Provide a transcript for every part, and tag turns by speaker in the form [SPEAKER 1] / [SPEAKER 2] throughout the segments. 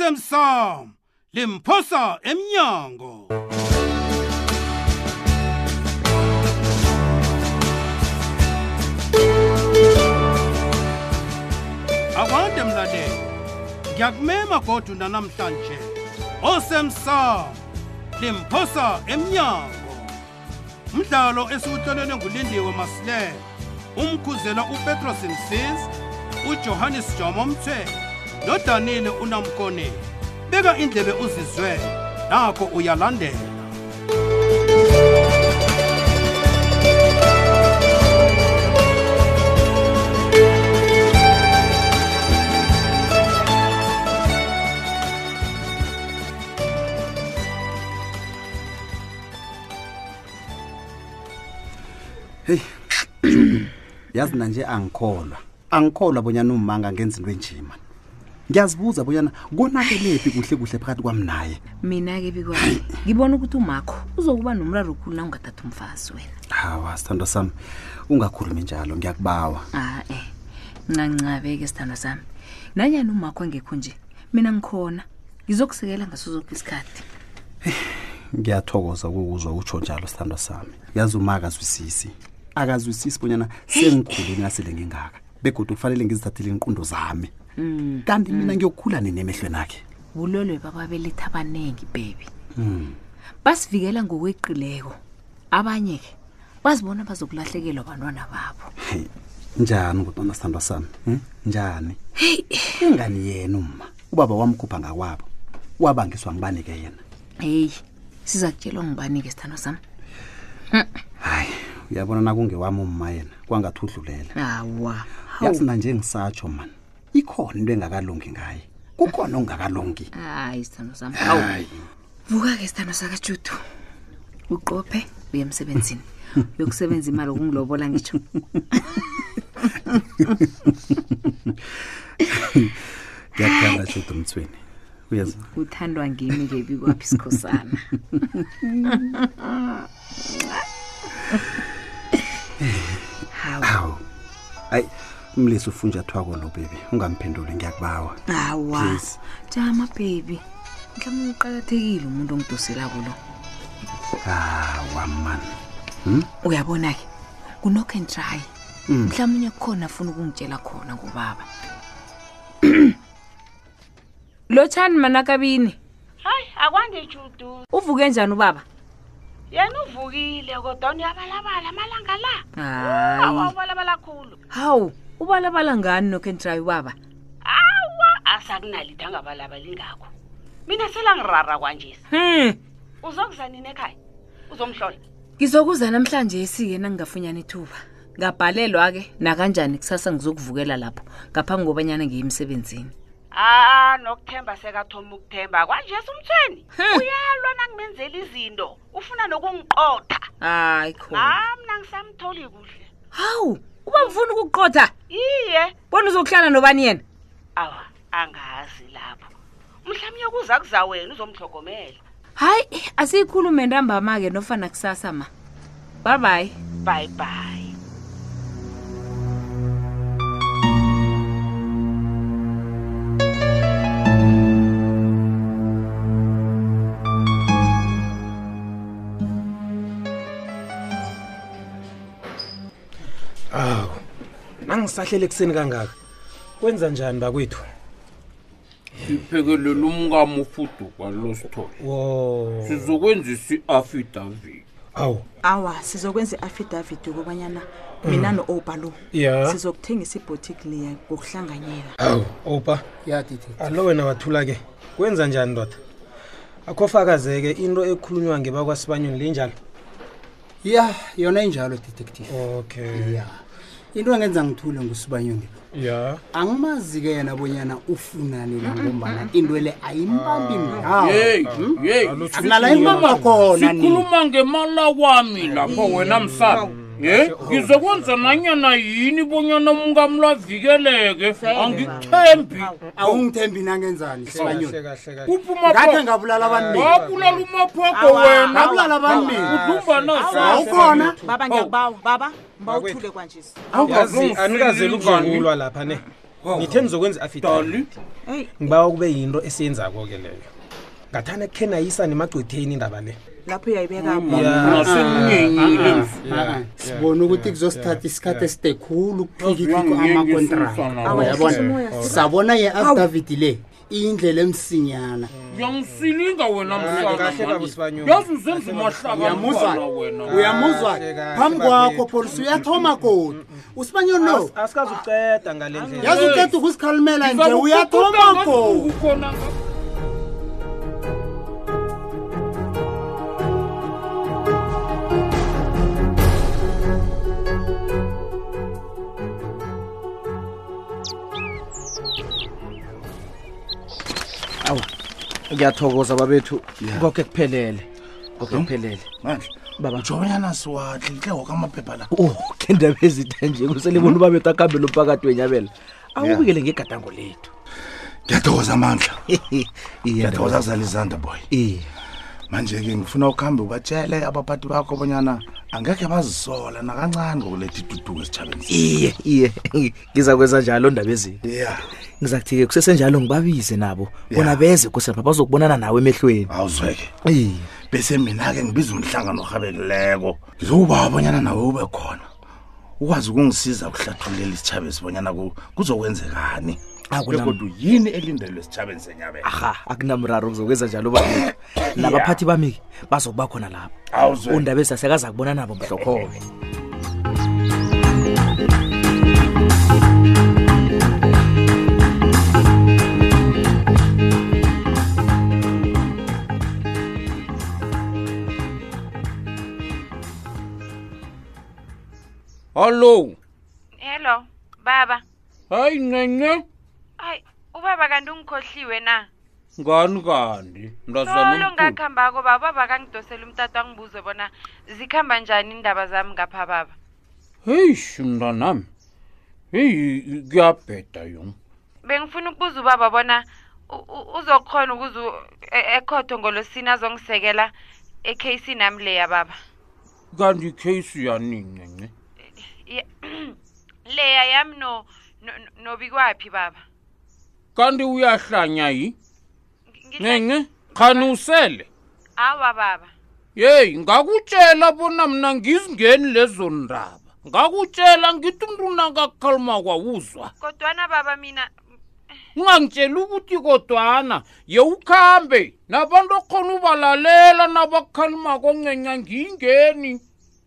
[SPEAKER 1] osemsamo limphosa emnyango akwade mlaleli ngiyakumema godu nanamhlanje osemsamo limphosa emnyango umdlalo esiwuhlolelwe ngulindiwe masilela umkhuzela upetros msizi ujohannes jomo mthwele nodanile unamkoneni beka indlebe uzizwe nakho uyalandela
[SPEAKER 2] heyi yazi na nje angikholwa angikholwa bonyana umanga ngenza into enjima ngiyazibuza bonyana konakelephi kuhle kuhle phakathi kwami naye
[SPEAKER 3] mina-ke bikwami ngibona ukuthi umakho uzokuba nomraro khulu na ungathatha umfazi wena
[SPEAKER 2] hawa sithando sami ungakhulumi njalo ngiyakubawa
[SPEAKER 3] a-e ncancabe-ke sithando sami nanyani umakho engekho nje mina ngikhona ngizokusekela ngaso zonke isikhathi
[SPEAKER 2] ngiyathokoza ukukuzwa utsho njalo sithando sami yazi uma akazwisisi akazwisisi bonyana sengikhulile nasele ngingaka begodwa kufanele ngizithathele iinqundo zami kanti mina ngiyokhula nini emehlweni akhe
[SPEAKER 3] bulolwe bababeletha abanengi bebi basivikela ngokweqileko abanye-ke bazibona bazokulahlekelwa abantwana babo
[SPEAKER 2] Hey, njani kodwana sithandwa sami hmm? njani ingani yena umma ubaba wamkhupha ngakwabo wabangiswa ngibanike yena
[SPEAKER 3] heyi siza kutshelwa ngubani-ke sithando sami
[SPEAKER 2] hayi uyabona nakungewami umma yena kwangathi udlulela
[SPEAKER 3] awa
[SPEAKER 2] yathi nanje ngisatsho mani ikhona into engakalungi ngaye kukhona okungakalungi
[SPEAKER 3] hayi sithando sami
[SPEAKER 2] hayi
[SPEAKER 3] vuka-ke sithando sakajudu uqophe uye emsebenzini uyokusebenza imali okungilobola ngitsho
[SPEAKER 2] ngiyakuthanda juda mthweni uyeza
[SPEAKER 3] uthandwa ngimi-ke bikwaphi isikhosana hawa
[SPEAKER 2] hawu hayi umlisi ufunjathwako lo bebi ungamphenduli ngiyakubawa
[SPEAKER 3] hawa
[SPEAKER 2] Please.
[SPEAKER 3] jama bebi mhlawumbe uqakathekile umuntu ongidosela kulo
[SPEAKER 2] hawa mani
[SPEAKER 3] uyabona-ke kunock and try mhlawumbe unye kukhona afuna ukungitshela khona ngubaba lotshani manakabini
[SPEAKER 4] hayi akwangijudu
[SPEAKER 3] uvuke njani ubaba
[SPEAKER 4] yena uvukile kodwa uyabalabala amalanga la
[SPEAKER 3] hayi
[SPEAKER 4] awubalabala khulu
[SPEAKER 3] hawu ubalabala ngani nock and try ubaba
[SPEAKER 4] awa asakunalithi angabalabali ngakho mina selangirara kwanjesi
[SPEAKER 3] hmm
[SPEAKER 4] uzokuza nini ekhaya uzomhlola
[SPEAKER 3] ngizokuza namhlanje esike nangingafunyana ithuba ngabhalelwa-ke nakanjani kusasa ngizokuvukela lapho ngaphambi kobanyana ngiye emsebenzini
[SPEAKER 4] a Ah, nokuthemba sekathoma ukuthemba kwanjesi umthweni
[SPEAKER 3] Hmm.
[SPEAKER 4] uyalwa nangimenzela izinto ufuna nokungiqotha
[SPEAKER 3] hayi khona
[SPEAKER 4] nam nangisamtholi kuhle
[SPEAKER 3] hawu uba mfuna ukukuqotha
[SPEAKER 4] iye
[SPEAKER 3] bona uzokuhlala nobani yena
[SPEAKER 4] awa angazi lapho mhlawumnye kuza kuza wena uzomhlogomela
[SPEAKER 3] hayi asiyikhulume ntambama-ke nofana kusasa ma babayi
[SPEAKER 4] bye bye
[SPEAKER 5] awu nangisahlele ekuseni kangaka kwenza njani bakwethu
[SPEAKER 6] siphekelela umkami ufuduka losithole
[SPEAKER 5] wo
[SPEAKER 6] sizokwenza isi-afidavit
[SPEAKER 5] awu
[SPEAKER 7] awa sizokwenza i-affidavit ukubanyana mina no-obalo
[SPEAKER 5] ya
[SPEAKER 7] sizokuthengisa ibhotiki leya ngokuhlanganyela
[SPEAKER 5] awu opa
[SPEAKER 8] yadithi
[SPEAKER 5] alo wena wathula-ke kwenza njani ndoda akhofakazeke into ekhulunywa ngebakwasibanyoni linjalo
[SPEAKER 8] ya yona injalo detective
[SPEAKER 5] okay
[SPEAKER 8] ya into engenza ngithule ngusibanyoni
[SPEAKER 5] ya
[SPEAKER 8] angimazi-ke yena bonyana ufunani la ngombana into le ayimbambi ndawo
[SPEAKER 6] yeyi yeyi
[SPEAKER 8] ah, akunala imbamba khona nini
[SPEAKER 6] hmm, sikhuluma ngemala wami lapho wena msana
[SPEAKER 8] Hmm.
[SPEAKER 6] ye ngizokwenza nanyana yini bonyana umkami lavikeleke angithembi
[SPEAKER 8] awungithembi nangenzani
[SPEAKER 5] kahle
[SPEAKER 8] sibanyoni
[SPEAKER 5] kahle kahle
[SPEAKER 8] ngakhe
[SPEAKER 6] uphumabulala
[SPEAKER 8] ngabulala abantu benu
[SPEAKER 6] umaphoko wena
[SPEAKER 8] ngabulala abantu benu
[SPEAKER 6] udlumbana
[SPEAKER 8] awukhona
[SPEAKER 7] baba ngiyakubawa baba
[SPEAKER 5] Bakwethu.
[SPEAKER 7] mbawuthule kwanjesi
[SPEAKER 5] yazi anikazeli ukuzokulwa lapha ne ngithe nizokwenza i-affidavit
[SPEAKER 6] dali
[SPEAKER 7] eyi
[SPEAKER 5] ngibawa kube yinto esiyenzako-ke leyo ngathana khe nayisane emagcwetheni indaba le
[SPEAKER 7] lapho uyayibeka
[SPEAKER 6] nasenyenyile mf
[SPEAKER 8] Ah, ah, sibone ukuthi kuzosithatha isikhathi eside khulu ukuphikithika
[SPEAKER 6] Yozwa ngiyeke
[SPEAKER 8] amakontrakt
[SPEAKER 6] isizana.
[SPEAKER 8] uyabona
[SPEAKER 7] Awasimoya,
[SPEAKER 8] sabona ye-affidavit le iyindlela emsinyana
[SPEAKER 6] uyangisilinga wena
[SPEAKER 5] kahle baba uSibanyoni.
[SPEAKER 6] msanaazi uzenza umahlakana
[SPEAKER 8] Uyamuzwa?
[SPEAKER 6] wena
[SPEAKER 8] uyamuzwa
[SPEAKER 5] Kahle, kahle,
[SPEAKER 8] phambi
[SPEAKER 5] bakwethu.
[SPEAKER 8] kwakho polisi uyathoma kodwa usibanyoni no
[SPEAKER 5] asikazi uceda ngale ndlela
[SPEAKER 8] yazi uqeda ukusikhalimela nje uyathoma kodwa
[SPEAKER 6] kona
[SPEAKER 9] ngiyathokoza babethu koke kuphelele koke kuphelele baba
[SPEAKER 10] jobanyana siwahle nhle woke amaphepha la
[SPEAKER 9] oh ke ndaba ezitha nje kuselebona ubabethu akuhambela umphakathi wenyabela awubikele ngegadango lethu
[SPEAKER 10] ngiyathokoza amandla
[SPEAKER 9] Iye,
[SPEAKER 10] ngiyathokoza
[SPEAKER 9] ndaba-
[SPEAKER 10] kuzalizanda boy
[SPEAKER 9] iye
[SPEAKER 10] manje-ke ngifuna ukuhambe ubatshele abaphathi bakho obonyana angekhe bazisola nakancane ngokuletha iduduko esitshabeni sethu.
[SPEAKER 9] iye iye ngiza kwenza njalo ndaba ezinto
[SPEAKER 10] ya
[SPEAKER 9] ngiza kuthi-ke kusesenjalo ngibabize nabo bona
[SPEAKER 10] Ya.
[SPEAKER 9] beze kusapha bazokubonana nawe emehlweni
[SPEAKER 10] awuzweke
[SPEAKER 9] iye
[SPEAKER 10] bese mina-ke ngibiza umhlangano orhabekileko ngizokuba abonyana nawe ube khona ukwazi ukungisiza ukuhlathululela isitshaba esibonyana ku- kuzokwenzekani
[SPEAKER 9] Akunam-
[SPEAKER 10] begodwa yini elindelwe esitshabeni senyabela
[SPEAKER 9] aha akunamraro ngizokwenza njalo babethu nabaphathi bami-ke bazokuba khona lapho
[SPEAKER 10] awuzweke
[SPEAKER 9] undaba ezasekaza kubona nabo mhlokhobe
[SPEAKER 6] hallo
[SPEAKER 11] hello baba
[SPEAKER 6] hayi nene
[SPEAKER 11] hayi ubaba kanti ungikhohliwe na
[SPEAKER 6] ngani kanti
[SPEAKER 11] solo
[SPEAKER 6] mntazana
[SPEAKER 11] ngakuhambako baba ubaba kangidosela umtata angibuze bona zikhamba njani iindaba zami ngapha baba
[SPEAKER 6] heish mntanami heyi kuyabheda yona
[SPEAKER 11] bengifuna ukubuza ubaba bona u- u- uzokhona ukuze u- e- ekhotho ngolosini azongisekela ekheyisini nami leya baba
[SPEAKER 6] kanti ikheyisi yaninene
[SPEAKER 11] Ya- leya yami no- no- no- nobikwaphi baba
[SPEAKER 6] kanti uyahlanya yi
[SPEAKER 11] Ngi- ngihle-
[SPEAKER 6] nene khani usele
[SPEAKER 11] awa baba
[SPEAKER 6] yeyi ngakutshela bona mna ngizingeni lezo ndaba ngakutshela ngithi umntu nakakhaluma kwawuzwa
[SPEAKER 11] kodwana baba mina
[SPEAKER 6] ungangitsheli ukuthi kodwana yewukhambe nabantu okhona ubalalela nabakhalumako ncenya ngiyingeni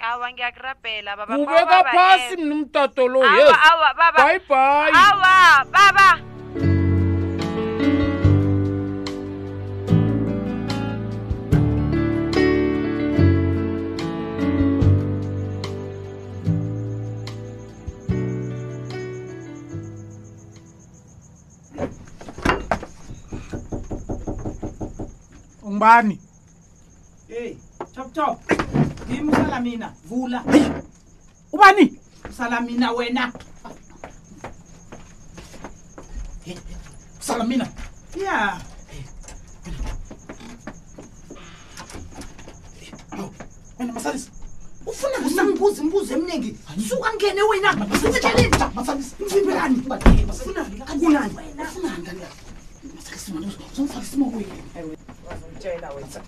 [SPEAKER 11] awa ngiyakurabhela baba
[SPEAKER 6] ubeka
[SPEAKER 11] mawubaba
[SPEAKER 6] phasi
[SPEAKER 11] eh.
[SPEAKER 6] mna umtato lo
[SPEAKER 11] awa
[SPEAKER 6] yes
[SPEAKER 11] awa baba
[SPEAKER 6] bye bye
[SPEAKER 11] 啊 awa baba
[SPEAKER 12] Ngubani?
[SPEAKER 13] Hey, chop chop. Ngimsala mina, vula.
[SPEAKER 12] Ubani?
[SPEAKER 13] Sala mina wena. Hey, Sala mina. Yeah. Hey, Wena masalis. Ufuna kusangibuza imibuzo eminingi. Suka ngene wena. Usitheleni. Masalis, imzimbelani. Ufuna kunani? Ufuna ngani? Masalis mina, uzongifaka isimo kuye. Uzongitshela wena.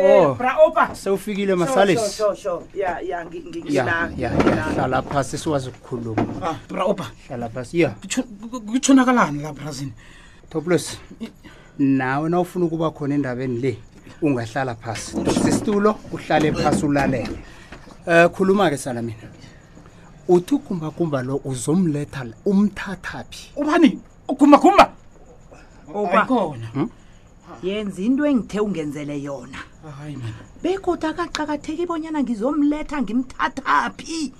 [SPEAKER 13] Eh,
[SPEAKER 8] Oh.
[SPEAKER 13] bra opa.
[SPEAKER 8] sewufikile masalis
[SPEAKER 13] Sure, sure, sure. Yeah, yeah, ngi- ngi-
[SPEAKER 8] ya
[SPEAKER 13] ngila-
[SPEAKER 8] ya
[SPEAKER 13] ngila.
[SPEAKER 8] hlala phasi siwazi ukukhuluma
[SPEAKER 13] Ah, bra opa.
[SPEAKER 8] hlala phasi ya
[SPEAKER 13] kutshonakalani la brazini
[SPEAKER 8] toplos nawe na ufuna ukuba khona endabeni le ungahlala phasi dosa isitulo uhlale phasi ulalele um khuluma-ke sana mina uthi ukumbakumba lo uzomletha la, umthathaphi
[SPEAKER 13] ubani ugumbagumba ayikhona
[SPEAKER 7] yenza into engithe ungenzele yona
[SPEAKER 13] hayi man
[SPEAKER 7] bekoda akaqakatheki bonyana ngizomletha ngimthathaphi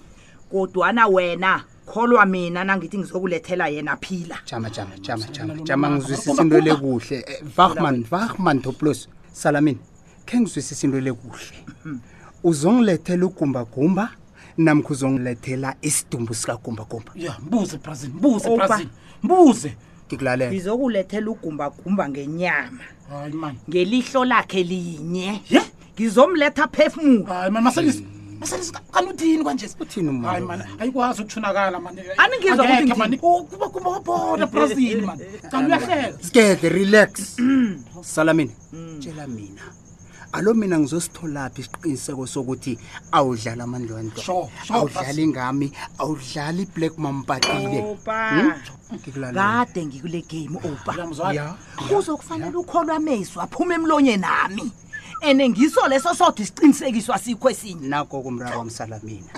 [SPEAKER 7] kodwana wena kholwa mina nangithi ngizokulethela yena phila
[SPEAKER 8] jama jama jama jama jama ngizwisisa into le kuhle vahman vahman toplos salamin khe ngizwisisa into le kuhle uzongilethela ugumbagumba namkho uzongilethela isidumbu sikagumbagumba
[SPEAKER 13] ya mbuze brazini mbuze
[SPEAKER 7] Opa.
[SPEAKER 13] brazini mbuze
[SPEAKER 8] ngikulalela
[SPEAKER 7] ngizokulethela ugumbagumba ngenyama
[SPEAKER 13] hayi man
[SPEAKER 7] ngelihlo lakhe linye
[SPEAKER 13] ye
[SPEAKER 7] ngizomletha phefumulo
[SPEAKER 13] hayi man maselisi masalisi kanti uthini kwanjesi
[SPEAKER 8] uthini
[SPEAKER 12] hayi mani ayikwazi ukuthunakala mani
[SPEAKER 13] Aningizwa ukuthi
[SPEAKER 12] Angekhe,
[SPEAKER 13] ngithini.
[SPEAKER 12] mani kuba kuba wabhoda ebrazil mani kanti uyahlela
[SPEAKER 8] skede relax
[SPEAKER 12] Mm.
[SPEAKER 8] salamina tshela mina alo mina ngizositholaphi isiqiniseko sokuthi awudlali amandlwanto
[SPEAKER 12] Sure, sure,
[SPEAKER 8] awudlali ngami awudlali iblack mampatile
[SPEAKER 7] kade ngikule game opa kuzokufanele ukholwa amezwi aphume emlonye nami ene ngiso leso sodwa isiqinisekiswa sikho esinye
[SPEAKER 8] nako kumraro wamsalamina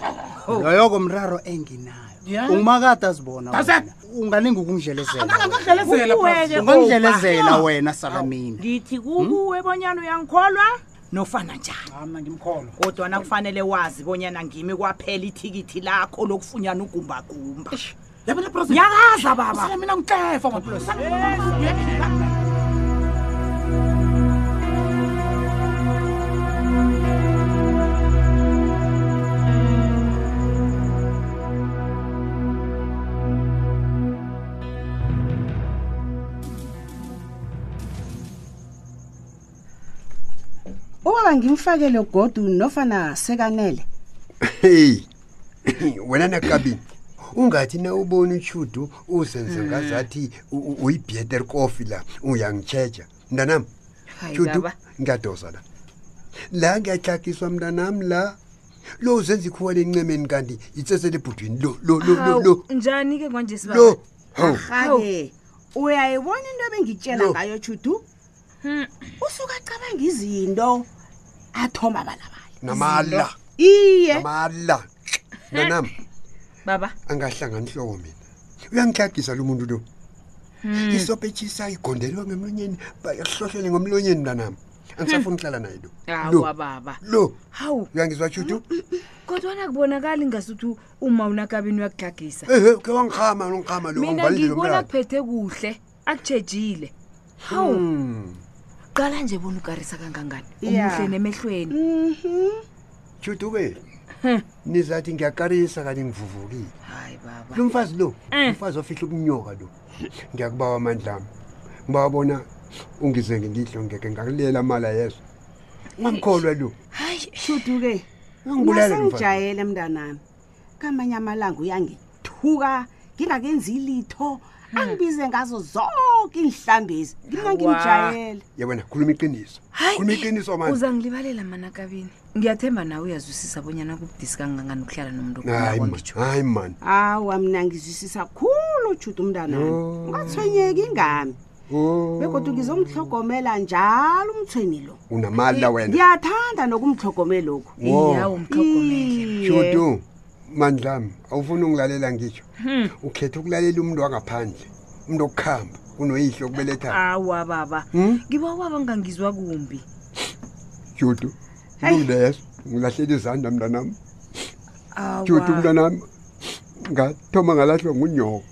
[SPEAKER 8] loyo kumraro enginayo ungumakade azibona
[SPEAKER 12] That's
[SPEAKER 8] wena. ungalinga ukungidlelezela
[SPEAKER 12] Angangidlelezela,
[SPEAKER 7] Ukuweke,
[SPEAKER 8] ungangidlelezela
[SPEAKER 7] Opa.
[SPEAKER 8] wena salamina
[SPEAKER 14] Hmm?
[SPEAKER 7] ngithi kukuwe bonyana uyangikholwa nofana njani
[SPEAKER 14] Ah,
[SPEAKER 12] mna ngimkholwa
[SPEAKER 7] kodwa nakufanele wazi bonyana ngimi kwaphela ithikithi lakho lokufunyana ugumbagumba
[SPEAKER 12] yabona
[SPEAKER 7] nyakaza baba
[SPEAKER 12] mina ngiklefa mani
[SPEAKER 4] ubaba ngimfakele godu nofana sekanele
[SPEAKER 14] hey wena nakabini ungathi na ubona utshudu uzenze ngazathi u- u- uyibheter kofi la uyangitshetsha mntanam
[SPEAKER 3] Hayi,
[SPEAKER 14] tshudu
[SPEAKER 3] baba.
[SPEAKER 14] ngiyadosa la la ngiyaxakiswa mntanam la lo uzenza ikhuwala encemeni kanti itsesele ebhudwini lo lo lo lo lo
[SPEAKER 4] njani ke konje
[SPEAKER 14] lo hawu
[SPEAKER 4] rhake uyayibona into ebengitshela ngayo judu usuke acabanga izinto athoma abalabala
[SPEAKER 14] namala
[SPEAKER 4] iye
[SPEAKER 14] namala mntanam
[SPEAKER 3] baba
[SPEAKER 14] angahlangani hlobo mina uyangihlagisa lo muntu lo isopa etshisayo igondelwa ngemlonyeni bayahlohlele ngomlonyeni mntanami angisafuni ukuhlala naye lo
[SPEAKER 3] awa baba
[SPEAKER 14] lo
[SPEAKER 4] hawu
[SPEAKER 14] uyangizwa tshutu
[SPEAKER 15] kodwana kubonakali ngasuthi uma unakabini uyakugagisa
[SPEAKER 14] ehe ke wangikhama longikhama lo
[SPEAKER 15] mina
[SPEAKER 14] wangibalile
[SPEAKER 15] ngikubona
[SPEAKER 14] lomntana
[SPEAKER 15] kuphethe kuhle akutshejile hawu
[SPEAKER 14] Hmm.
[SPEAKER 15] qala nje bona ukarisa kangangani
[SPEAKER 14] Yeah.
[SPEAKER 15] umuhle nemehlweni
[SPEAKER 14] tshutube nizathi ngiyakarisa kanti ngivuvukile
[SPEAKER 3] hayi baba
[SPEAKER 14] lo mfazi lo umfazi ofihla ubunyoka lo ngiyakubawa amandla ami ngibawabona ungizenge ndihlo ngeke ngakulela mala yezo ungangikholwa lo
[SPEAKER 4] hayi judu ke
[SPEAKER 14] Ungibulele, mfana.
[SPEAKER 4] nasengijayele mntanami kamanye amalanga uyangithuka ngingakenzi litho angibize ngazo zonke iinhlambezi mina ngimjayele
[SPEAKER 14] yabona khuluma iqiniso khuluma iqiniso amandla
[SPEAKER 15] uzangilibalela manakabini
[SPEAKER 3] ngiyathemba nawe uyazwisisa bonyana kubudisi kangangani ukuhlala nomuntu
[SPEAKER 14] hayi man hayi man
[SPEAKER 4] awa mna ngizwisisa khulu judu mntanami ungathwenyeki ngami begodwa ngizomhlogomela njalo umthweni lo
[SPEAKER 14] unamala wena
[SPEAKER 4] ngiyathanda nokumhlogomela lokhu
[SPEAKER 14] Wo. Iya, Hmm?
[SPEAKER 4] umhlogomele
[SPEAKER 14] shutu mandlami awufuni ungilalela ngitsho ukhetha ukulalela umuntu wangaphandle umuntu okukhamba unoyihlo
[SPEAKER 4] Ah.
[SPEAKER 14] okubelethayo
[SPEAKER 3] awa baba ngiba ubaba ngangizwa kumbi
[SPEAKER 14] shutu kulungileso ngilahlela izandla mntanami shutu
[SPEAKER 15] awa
[SPEAKER 14] mntanami ngathoma ngalahlwa ngunyoko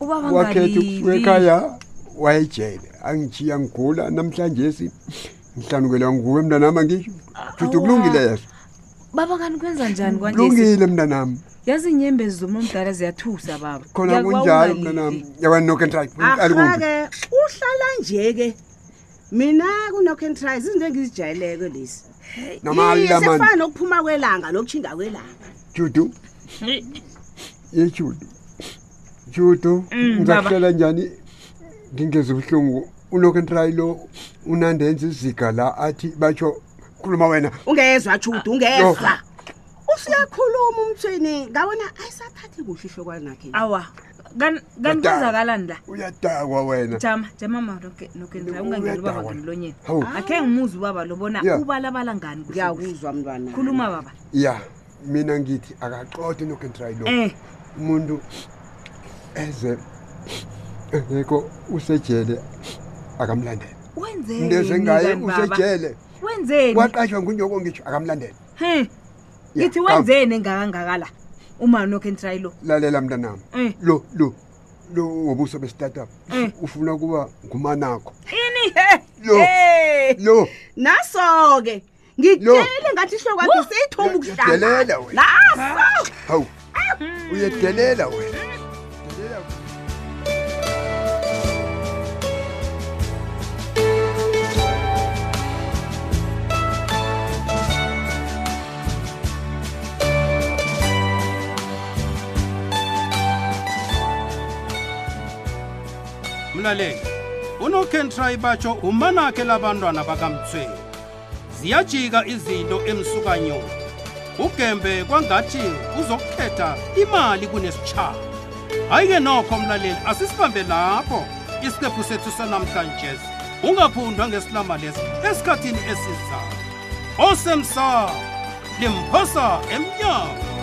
[SPEAKER 15] ubaba
[SPEAKER 14] wakhetha ukusuka
[SPEAKER 15] ngalili.
[SPEAKER 14] ekhaya wayejele angijiya ngigula namhlanje si ngihlanukelwa nguwe mntanami angisho shutu kulungileso
[SPEAKER 15] baba kani kwenza njani kwanje
[SPEAKER 14] kulungile mntanami
[SPEAKER 15] yazi inyembezi zomomdala ziyathusa baba
[SPEAKER 14] khona
[SPEAKER 15] Ngiyakubawa
[SPEAKER 14] kunjalo
[SPEAKER 15] ungalili.
[SPEAKER 14] mntanami yabani nokentralikumbi
[SPEAKER 4] ahake uhlala nje ke mina kunokentrise izinto engizijayeleko lezi
[SPEAKER 14] Namala
[SPEAKER 4] Iye,
[SPEAKER 14] mani.
[SPEAKER 4] sekufana nokuphuma kwelanga nokutshinga kwelanga
[SPEAKER 14] judu yejudu judu
[SPEAKER 4] Mm,
[SPEAKER 14] ngizakuhlela njani ngingeza ubuhlungu unokentrayi lo unandenza iziga la athi batsho khuluma wena
[SPEAKER 4] ungezwa judu ungezwa
[SPEAKER 14] Yo.
[SPEAKER 4] usuyakhuluma umthweni ngabona ayisaphathi kuhle ihlokwanakhe
[SPEAKER 15] awa kani kani
[SPEAKER 14] Tata.
[SPEAKER 15] kwenzakalani la
[SPEAKER 14] uyadakwa wena
[SPEAKER 15] jama jama ma nokenzela ungangeli ubaba
[SPEAKER 14] Uyadawa.
[SPEAKER 15] ngemlonyeni
[SPEAKER 14] Hawu.
[SPEAKER 15] akhe ngimuzi ubaba lobona
[SPEAKER 14] Yeah.
[SPEAKER 15] ubalabala ngani
[SPEAKER 4] ngiyakuzwa mntwana
[SPEAKER 15] khuluma baba
[SPEAKER 14] ya mina ngithi akaqothe unokentrayi lo
[SPEAKER 15] Eh.
[SPEAKER 14] umuntu eze engekho usejele akamlandele
[SPEAKER 3] Eh,
[SPEAKER 14] into ezengaye usejele
[SPEAKER 15] wenzeni
[SPEAKER 14] waqashwa ngunyoko ngitsho akamlandele
[SPEAKER 15] he
[SPEAKER 14] Ya,
[SPEAKER 15] ngithi
[SPEAKER 14] kama.
[SPEAKER 15] wenzeni engakangaka la uma nokentrayilo
[SPEAKER 14] lalela mntanami
[SPEAKER 15] Eh.
[SPEAKER 14] lo lo lo wobuso bestartup ufuna kuba ngumanakho
[SPEAKER 4] ini
[SPEAKER 14] lo lo
[SPEAKER 4] naso-ke ngitshele ngathi ihlokwakhe seyithoma
[SPEAKER 14] uyadelela
[SPEAKER 4] ukuhlala
[SPEAKER 14] wena.
[SPEAKER 4] naso
[SPEAKER 14] hawu uyedelela wena
[SPEAKER 1] iyafunakalela unokentra ibatsho umanakhe labantwana bakamthweni ziyajika izinto emsukanyoni ugembe kwangathi uzokukhetha imali kunesitshaba hayi-ke nokho mlaleli asisibambe lapho isiqephu sethu sanamhlanje ungaphundwa ngesilama lesi esikhathini esizayo osemsa limphosa emnyango